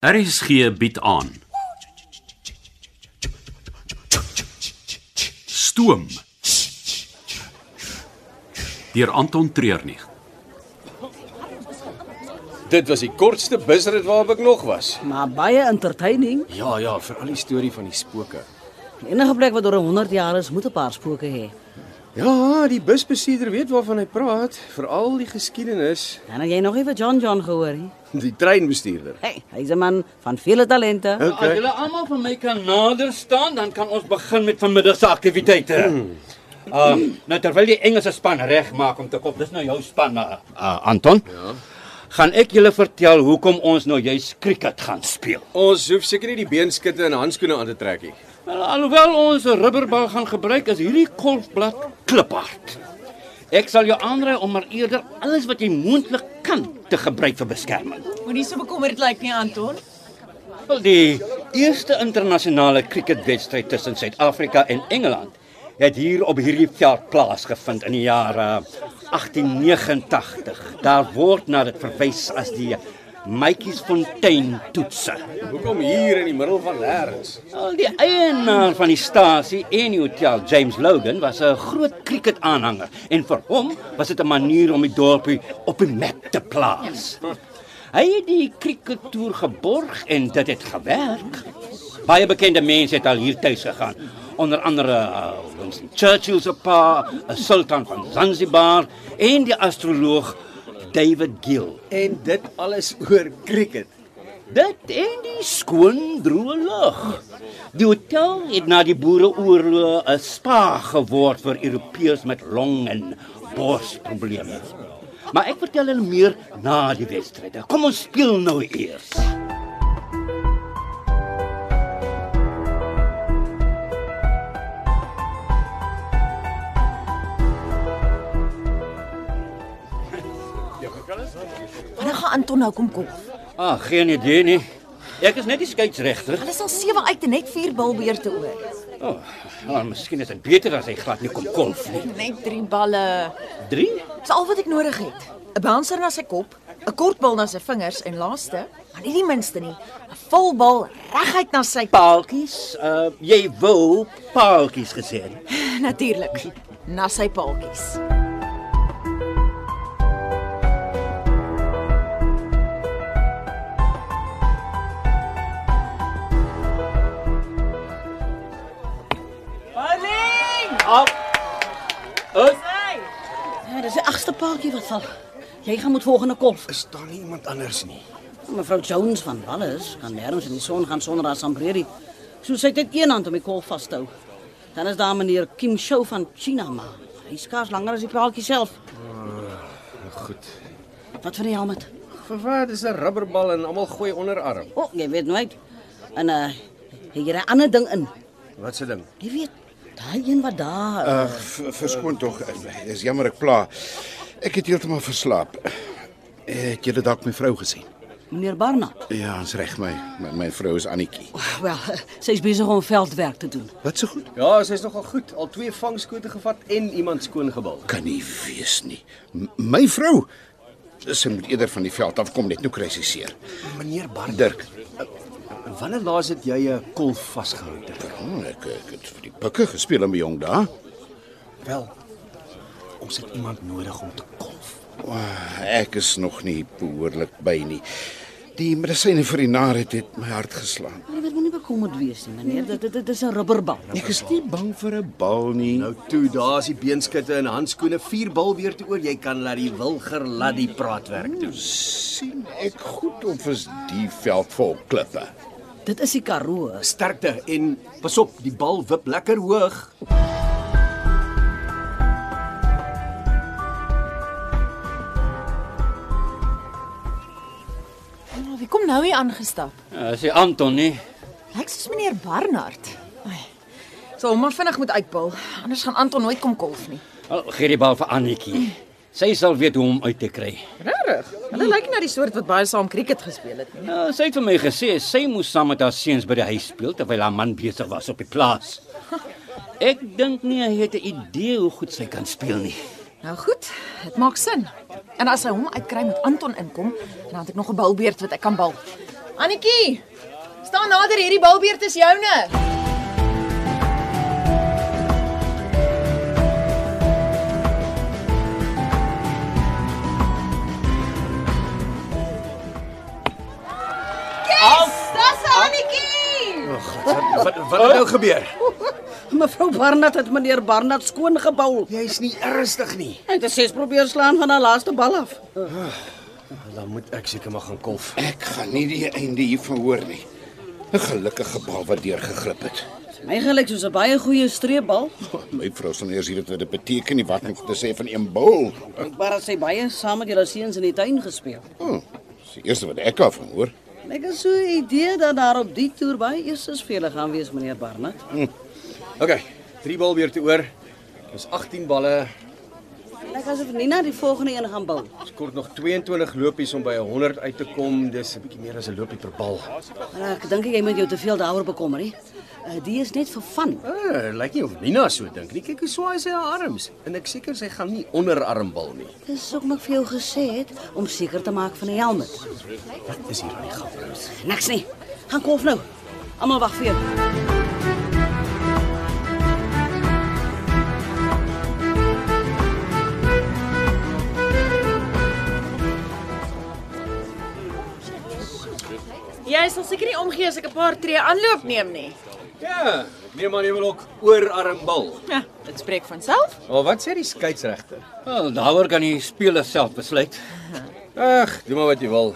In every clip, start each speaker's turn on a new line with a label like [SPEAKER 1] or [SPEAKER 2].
[SPEAKER 1] RSG bied aan. Stoom. Deur Anton Treurnig.
[SPEAKER 2] Dit was die kortste busrit waarop ek nog was.
[SPEAKER 3] Maar baie entertaining.
[SPEAKER 2] Ja, ja, vir al die storie van die spooke.
[SPEAKER 3] Enige plek wat oor 100 jaar is, moet 'n paar spooke hê.
[SPEAKER 2] Ja, die busbestuurder weet waarvan hy praat, veral die geskiedenis,
[SPEAKER 3] En dan jy nog even John John gehoor hè?
[SPEAKER 2] die treinbestuurder.
[SPEAKER 3] Hey, hy's 'n man van vele talente.
[SPEAKER 4] Okay. As julle almal van my kan nader staan, dan kan ons begin met vanmiddag se aktiwiteite. Uh, nou terwyl die Engelse span reg maak om te kom, dis nou jou span, uh, uh, Anton. Ja. Gaan ek julle vertel hoekom ons nou juis cricket gaan speel.
[SPEAKER 2] Ons hoef seker nie die beenskitte en handskoene aan te trek nie.
[SPEAKER 4] Wel, alhoewel ons 'n rubberbal gaan gebruik, is hierdie golfblad kliphard. Ek sal jou aanraai om maar eerder alles wat jy moontlik kan te gebruik vir beskerming.
[SPEAKER 5] Moenie so bekommerd lyk nie, Anton.
[SPEAKER 4] Wel die eerste internasionale cricketwedstryd tussen Suid-Afrika en Engeland het hier op hierdie veld plaasgevind in die jaar eh, 1889. Daar word na dit verwys as die Maatjiesfontein toetse.
[SPEAKER 2] Hoekom hier in die middel van nêrens?
[SPEAKER 4] Al die eienaar van die stasie en die hotel, James Logan, was 'n groot cricketaanhanger en vir hom was dit 'n manier om die dorpie op die map te plaas. Hy het die crickettoer geborg en dit het gewerk. Baie bekende mense het al hier tuis gegaan. Onder andere uh, Winston Churchill se pa, 'n sultan van Zanzibar en die astroloog David Gill.
[SPEAKER 2] En dit alles oor cricket.
[SPEAKER 4] Dit en die skoon droë lug. Die hotel het na die boereoorlog 'n spa geword vir Europeërs met long en borsprobleme. Maar ek vertel hulle meer na die wedstryd. Kom ons speel nou eers.
[SPEAKER 5] Wanneer gaan Anton nou kom kom?
[SPEAKER 4] Ah, geen idee nie. Ek is net die skeieregter.
[SPEAKER 5] Hulle sal sewe uit en net vier bilbeerte oor.
[SPEAKER 4] O, oh, maar miskien is dit beter as hy glad nie kom kolf nie.
[SPEAKER 5] Net drie balle.
[SPEAKER 4] 3
[SPEAKER 5] Dis al wat ek nodig het. 'n Bouncer na sy kop, 'n kortbal na sy vingers en laaste, maar nie die minste nie, 'n volbal reguit na sy
[SPEAKER 4] paaltjies. Uh jy wou paaltjies gesê het.
[SPEAKER 5] natuurlik, na sy paaltjies.
[SPEAKER 3] Ja, dis die agste paaltjie wat val. Jy gaan moet volgende kolf.
[SPEAKER 2] Is daar nie iemand anders nie?
[SPEAKER 3] Mevrou Jones van Wallis kan nêrens in die son gaan sonder haar sombrerie. So sy het net een hand om die kolf vas te hou. Dan is daar meneer Kim Show van China maar. Hy skaars langer as die paaltjie self.
[SPEAKER 2] Goed.
[SPEAKER 3] Wat van die helmet?
[SPEAKER 2] Vir wat is 'n rubberbal en almal gooi onderarm?
[SPEAKER 3] O, oh, jy weet nooit. En uh hier 'n ander ding in.
[SPEAKER 2] Wat se ding?
[SPEAKER 3] Jy weet, daai een wat daar. Uh,
[SPEAKER 6] Ag, ver- verskoon tog. Dis jammer ek pla. Ek het heeltemal verslaap. Het jy dit dalk my vrou gesien?
[SPEAKER 3] meneer Barna.
[SPEAKER 6] Ja, ons reg my. My, my vrou is Annetjie.
[SPEAKER 3] Ah, Wel, sy is besig om veldwerk te doen.
[SPEAKER 6] Wat so goed?
[SPEAKER 2] Ja, sy's nogal goed. Al twee vangskote gevat en iemand skoongebal.
[SPEAKER 6] Kan nie wees nie. M my vrou. Sy moet eerder van die veld af kom net nou kry sy seer.
[SPEAKER 2] Meneer Bart,
[SPEAKER 6] Dirk,
[SPEAKER 2] wanneer laas het jy 'n kolf vasgehou?
[SPEAKER 6] oh, ek, ek het vir die pikke gespeel in my jong dae.
[SPEAKER 2] Wel. Ons het iemand nodig om te kolf.
[SPEAKER 6] Oh, ek is nog nie behoorlik by nie. Die medisyne vir die nare het, het my hart geslaan.
[SPEAKER 3] Maar jy moet moenie bekommerd wees nie, meneer. Dit dit, dit is 'n rubberbal.
[SPEAKER 6] Ek is nie bang vir 'n bal nie.
[SPEAKER 2] Nou toe, daar's die beenskitte en handskoene, vier bal weer te oor. Jy kan laat die wilger laat die praatwerk doen.
[SPEAKER 6] sien ek goed of is die veld vol klippe?
[SPEAKER 3] Dit is die Karoo.
[SPEAKER 2] Sterkte en pas op, die bal wip lekker hoog.
[SPEAKER 5] Maar wie kom nou hier aangestap?
[SPEAKER 4] Uh, sê Anton nie.
[SPEAKER 5] Lyk soos meneer Barnard. Ai. So hom maar vinnig moet uitbal, anders gaan Anton nooit kom kolf nie.
[SPEAKER 4] Al gee die bal vir Annetjie. Sy sal weet hoe om uit te kry.
[SPEAKER 5] Regtig? Hulle lyk nie na die soort wat baie saam krieket gespeel het nie.
[SPEAKER 4] Nou, sy het vir my gesê sy moes saam met haar seuns by die huis speel terwyl haar man besig was op die plaas. Ek dink nie hy het 'n idee hoe goed sy kan speel nie.
[SPEAKER 5] Nou goed, dit maak sin. En as hy hom uitkry met Anton inkom, dan het ek nog 'n balbeurt wat ek kan bal. Annetjie, staan nader hierdie balbeert is joune. Dis Annetjie.
[SPEAKER 7] Wat wat het nou gebeur?
[SPEAKER 3] Mevrou Barnard het meneer Barnard skoon gebou.
[SPEAKER 7] Jy's nie ernstig nie.
[SPEAKER 3] Hy het 'n ses probeer slaan van haar laaste bal af.
[SPEAKER 7] Dan moet ek seker maar gaan kolf.
[SPEAKER 6] Ek gaan nie die einde hiervan hoor nie. 'n Gelukkige bal wat deurgeglip het.
[SPEAKER 3] My gelyk soos 'n baie goeie streepbal.
[SPEAKER 6] My vrou sal nie eers weet wat dit beteken nie, wat om te sê van een bal.
[SPEAKER 3] Ekbaar het sy baie saam met julle seuns in die tuin gespeel.
[SPEAKER 6] Oh, dis die eerste wat ek daarvan hoor.
[SPEAKER 3] Ek het so 'n idee dat daar op die toer baie eerstes vir julle gaan wees, meneer Barnard.
[SPEAKER 2] OK, 3 bal weer te oor. Dis 18 balle.
[SPEAKER 3] Lyk asof Nina die volgende een gaan bou.
[SPEAKER 2] Ons kort nog 22 lopies om by 100 uit te kom. Dis 'n bietjie meer as 'n lopie per bal.
[SPEAKER 3] Maar ek dink jy moet jou te veel daaroor bekommer, hè. Eh, die is net vir van.
[SPEAKER 2] Ah, lyk nie of Nina so dink nie. Kyk hoe swaai sy haar arms en ek seker sy gaan nie onderarmbal nie.
[SPEAKER 3] Dis ook wat vir jou gesê het om seker te maak van 'n helm.
[SPEAKER 2] Wat is hier aan die gang?
[SPEAKER 3] Niks nie. Gaan koop nou. Almal wag vir jou.
[SPEAKER 5] Jy sal seker nie omgee as ek 'n paar tree aanloop neem nie.
[SPEAKER 2] Ja, nee man, jy wil ook oorarmbal.
[SPEAKER 5] Ja, dit spreek van self.
[SPEAKER 2] Maar wat sê die skeieregter?
[SPEAKER 4] Wel, daaroor kan die speler self besluit.
[SPEAKER 2] Ag, doen maar wat jy wil.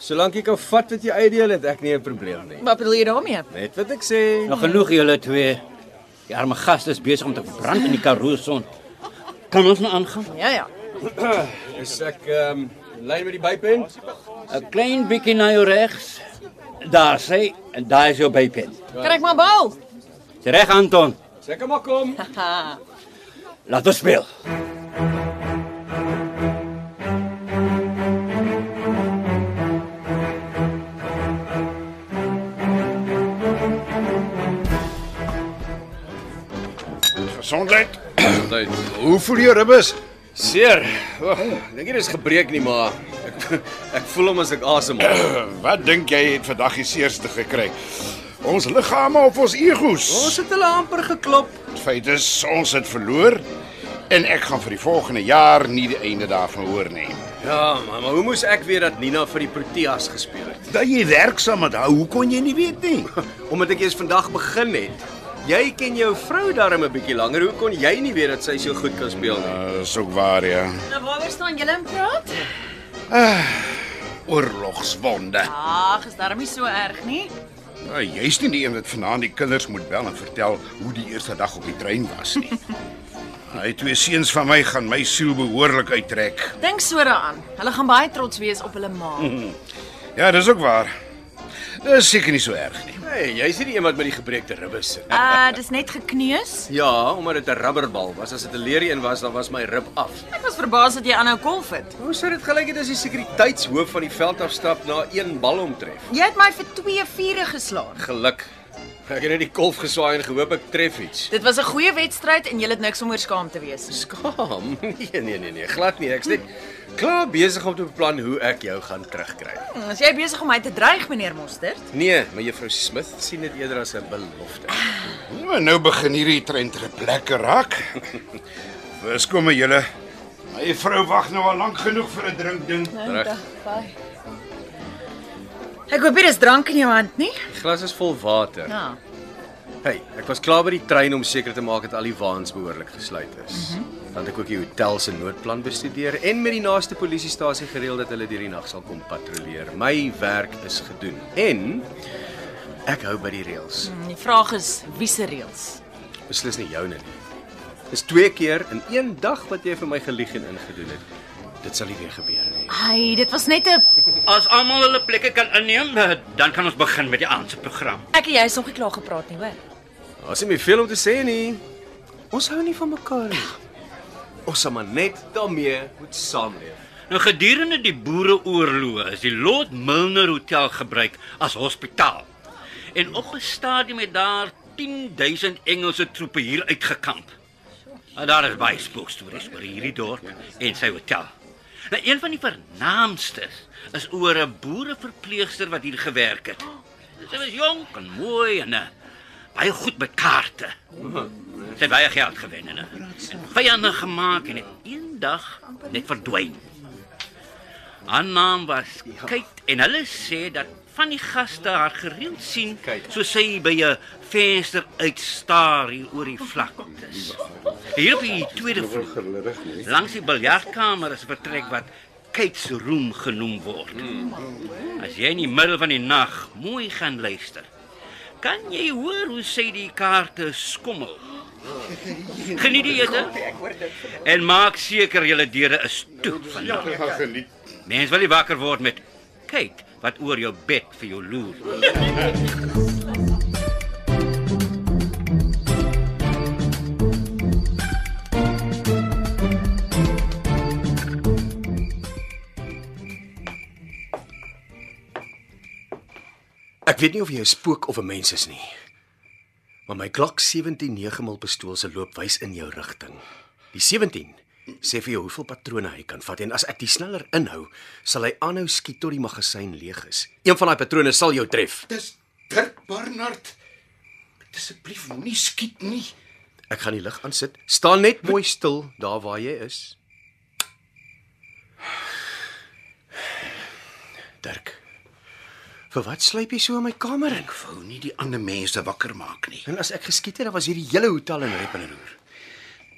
[SPEAKER 2] Solank jy kan vat wat jy uitdeel, het ek nie 'n probleem nie.
[SPEAKER 5] Wat bedoel jy daarmee?
[SPEAKER 2] Net wat ek sê.
[SPEAKER 4] Nou genoeg julle twee. Die arme gast is besig om te brand in die Karoo son. Kan ons nou aangaan?
[SPEAKER 5] Ja ja.
[SPEAKER 2] Is ek ehm um, lyn met die bypen?
[SPEAKER 4] 'n Klein bietjie na jou regs. Daar sê, en daar is jou bypen.
[SPEAKER 5] Kan ek maar bal?
[SPEAKER 4] Dis Reg Anton.
[SPEAKER 2] Seker maar kom.
[SPEAKER 5] Haha.
[SPEAKER 4] Laat ons speel.
[SPEAKER 6] Gesondheid. Hoe voel jy, Ribbes?
[SPEAKER 2] Seer. Oh, dink jy dis gebreek nie, maar ek, ek voel hom as ek asemhaal.
[SPEAKER 6] Wat dink jy het vandag die seerste gekry? Ons liggame of ons egos?
[SPEAKER 2] Ons het hulle amper geklop.
[SPEAKER 6] Die feit is ons het verloor en ek gaan vir die volgende jaar nie die einde daarvan hoor nie.
[SPEAKER 2] Ja, maar, maar hoe moes ek weet dat Nina vir die Proteas gespeel het?
[SPEAKER 6] Dat jy werksaam met haar, hoe kon jy nie weet nie?
[SPEAKER 2] Omdat ek eers vandag begin het. Jy ken jou vrou darm 'n bietjie langer. Hoe kon jy nie weet dat sy so goed kan speel nie?
[SPEAKER 6] Dis ook waar ja.
[SPEAKER 5] Nou waaroor staan julle in praat?
[SPEAKER 6] Oorlogswonde.
[SPEAKER 5] Ag, is darm nie so erg nie.
[SPEAKER 6] Nou, Jy's nie die een wat vanaand die kinders moet bel en vertel hoe die eerste dag op die trein was nie. Hy twee seuns van my gaan my siel behoorlik uittrek.
[SPEAKER 5] Dink so daaraan. Hulle gaan baie trots wees op hulle ma.
[SPEAKER 6] Ja, dis ook waar. Dis seker nie so erg nie.
[SPEAKER 2] Hey, jy's Nee, nie die een wat met die gebreekte ribbes sit.
[SPEAKER 5] Uh, dis net gekneus.
[SPEAKER 2] Ja, omdat dit 'n rubberbal was. As dit 'n leerie een was, dan was my rib af.
[SPEAKER 5] Ek was verbaas dat jy aanhou kolf het.
[SPEAKER 2] Hoe sou dit gelyk het as die sekuriteitshoof van die veld afstap na een bal omtref?
[SPEAKER 5] Jy het my vir 2 vure geslaag.
[SPEAKER 2] Geluk. Ek het net die kolf geswaai en gehoop ek tref iets.
[SPEAKER 5] Dit was 'n goeie wedstryd en jy het niks om oor skaam te wees nie.
[SPEAKER 2] Skaam. Nee, nee, nee, nee, glad nie. Ek's net klaar besig om te beplan hoe ek jou gaan terugkry.
[SPEAKER 5] As jy besig om my te dreig, meneer Mostert?
[SPEAKER 2] Nee, maar juffrou Smith sien dit eerder as 'n belofte.
[SPEAKER 6] Nou, nou begin hierdie trein ter plekke raak. Wes kom maar julle. My vrou wag nou al lank genoeg vir 'n drink ding.
[SPEAKER 2] Reg.
[SPEAKER 5] Ek hoop hier is drank in jou hand nie.
[SPEAKER 2] Die glas is vol water.
[SPEAKER 5] Ja.
[SPEAKER 2] Hey, ek was klaar by die trein om seker te maak dat al die waans behoorlik gesluit is. Dan het ek ook die hotel se noodplan bestudeer en met die naaste polisiestasie gereël dat hulle deur die nag sal kom patrolleer. My werk is gedoen en ek hou by die reëls.
[SPEAKER 5] hmm, Die vraag is wie se reëls?
[SPEAKER 2] Beslis nie joune nie. Dis twee keer in een dag wat jy vir my gelieg en ingedoen het. Dit sal nie weer gebeur nie.
[SPEAKER 5] Ai, dit was net 'n
[SPEAKER 4] As almal hulle plekke kan inneem, eh, dan kan ons begin met die aand se program.
[SPEAKER 5] Ek en jy is nog nie klaar gepraat nie, hoor.
[SPEAKER 2] Daar's nie meer veel om te sê nie. Ons hou nie van mekaar nie. Ons sal maar net daarmee moet saamleef.
[SPEAKER 4] Nou gedurende die Boereoorloë is die Lord Milner Hotel gebruik as hospitaal. En op 'n stadium het daar 10000 Engelse troepe hier uitgekamp. En daar is baie spookstories oor hierdie dorp en sy hotel. Nou een van die vernaamstes is oor 'n boereverpleegster wat hier gewerk het. Sy was jonk en mooi en eh, baie goed met kaarte. Sy het baie geld gewen en eh, en vyande gemaak en het eendag net verdwyn. Haar naam was Kate en hulle sê dat van die gaste haar gereeld sien
[SPEAKER 2] Kate.
[SPEAKER 4] so sy by 'n venster uitstaar hier oor die vlaktes. Hier op die tweede vloer Langs die biljartkamer is 'n vertrek wat Kate's room genoem word. As jy in die middel van die nag mooi gaan luister, kan jy hoor hoe sy die kaarte skommel. Geniet die ete en maak seker julle deure is toe vandag.
[SPEAKER 6] Ag, Ja, geniet.
[SPEAKER 4] Mens wil nie wakker word met Kate wat oor jou bed vir jou loer.
[SPEAKER 2] Ek weet nie of jy 'n spook of 'n mens is nie. Maar my klok 179 mil pistool se loop wys in jou rigting. Die 17 sê vir jou hoeveel patrone hy kan vat en as ek die sneller inhou, sal hy aanhou skiet tot die magasyn leeg is. Een van daai patrone sal jou tref.
[SPEAKER 6] Dis Dirk Barnard. Asseblief moenie skiet nie.
[SPEAKER 2] Ek gaan die lig aan sit. Staan net mooi stil daar waar jy is. Dirk. Vir wat sluip jy so in my kamer in?
[SPEAKER 6] Ek wou nie die ander mense wakker maak nie.
[SPEAKER 2] En as ek geskiet het, dan was hierdie hele hotel in rep en roer.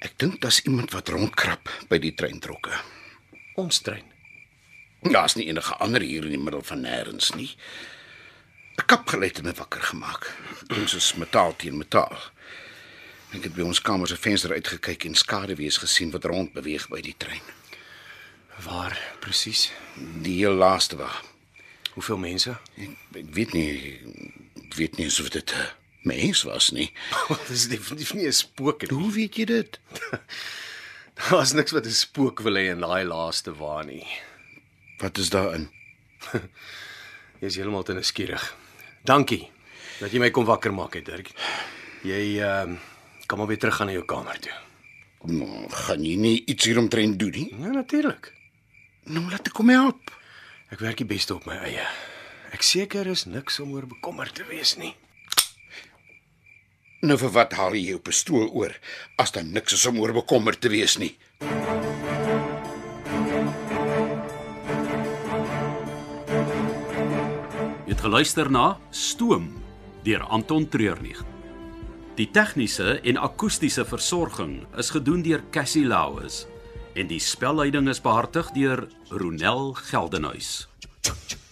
[SPEAKER 6] Ek dink daar's iemand wat rondkrap by die treintrokke.
[SPEAKER 2] Ons trein.
[SPEAKER 6] Daar's nie enige ander hier in die middel van nêrens nie. 'n Kapgeluid het my wakker gemaak. Ons is metaal teen metaal. Ek het by ons kamer se venster uitgekyk en skaduwees gesien wat rond beweeg by die trein.
[SPEAKER 2] Waar presies?
[SPEAKER 6] Die heel laaste wa.
[SPEAKER 2] Hoeveel mense?
[SPEAKER 6] Ek, ek weet nie ek weet nie of dit 'n mens was nie.
[SPEAKER 2] Dit is definitief nie 'n spook nie.
[SPEAKER 6] Hoe weet jy dit?
[SPEAKER 2] Daar's niks wat 'n spook wil hê in daai laaste waar nie.
[SPEAKER 6] Wat is daarin?
[SPEAKER 2] Jy is heeltemal te nuuskierig. Dankie dat jy my kom wakker maak het, Dirk. Jy ehm um, kom maar weer terug gaan na jou kamer toe.
[SPEAKER 6] Nou, gaan jy nie iets hieromtrent doen nie?
[SPEAKER 2] Ja, natuurlik.
[SPEAKER 6] Nou laat ek kom help.
[SPEAKER 2] Ek werk die beste op my eie. Ek seker is niks om oor bekommerd te wees nie.
[SPEAKER 6] Nou vir wat haal jy jou pistool oor as daar niks is om oor bekommerd te wees nie?
[SPEAKER 1] Jy het geluister na Stoom deur Anton Treurnig. Die tegniese en akoestiese versorging is gedoen deur Cassie Lauis en die spelleiding is behartig deur Ronel Geldenhuys.
[SPEAKER 2] Tjoe, tjoe,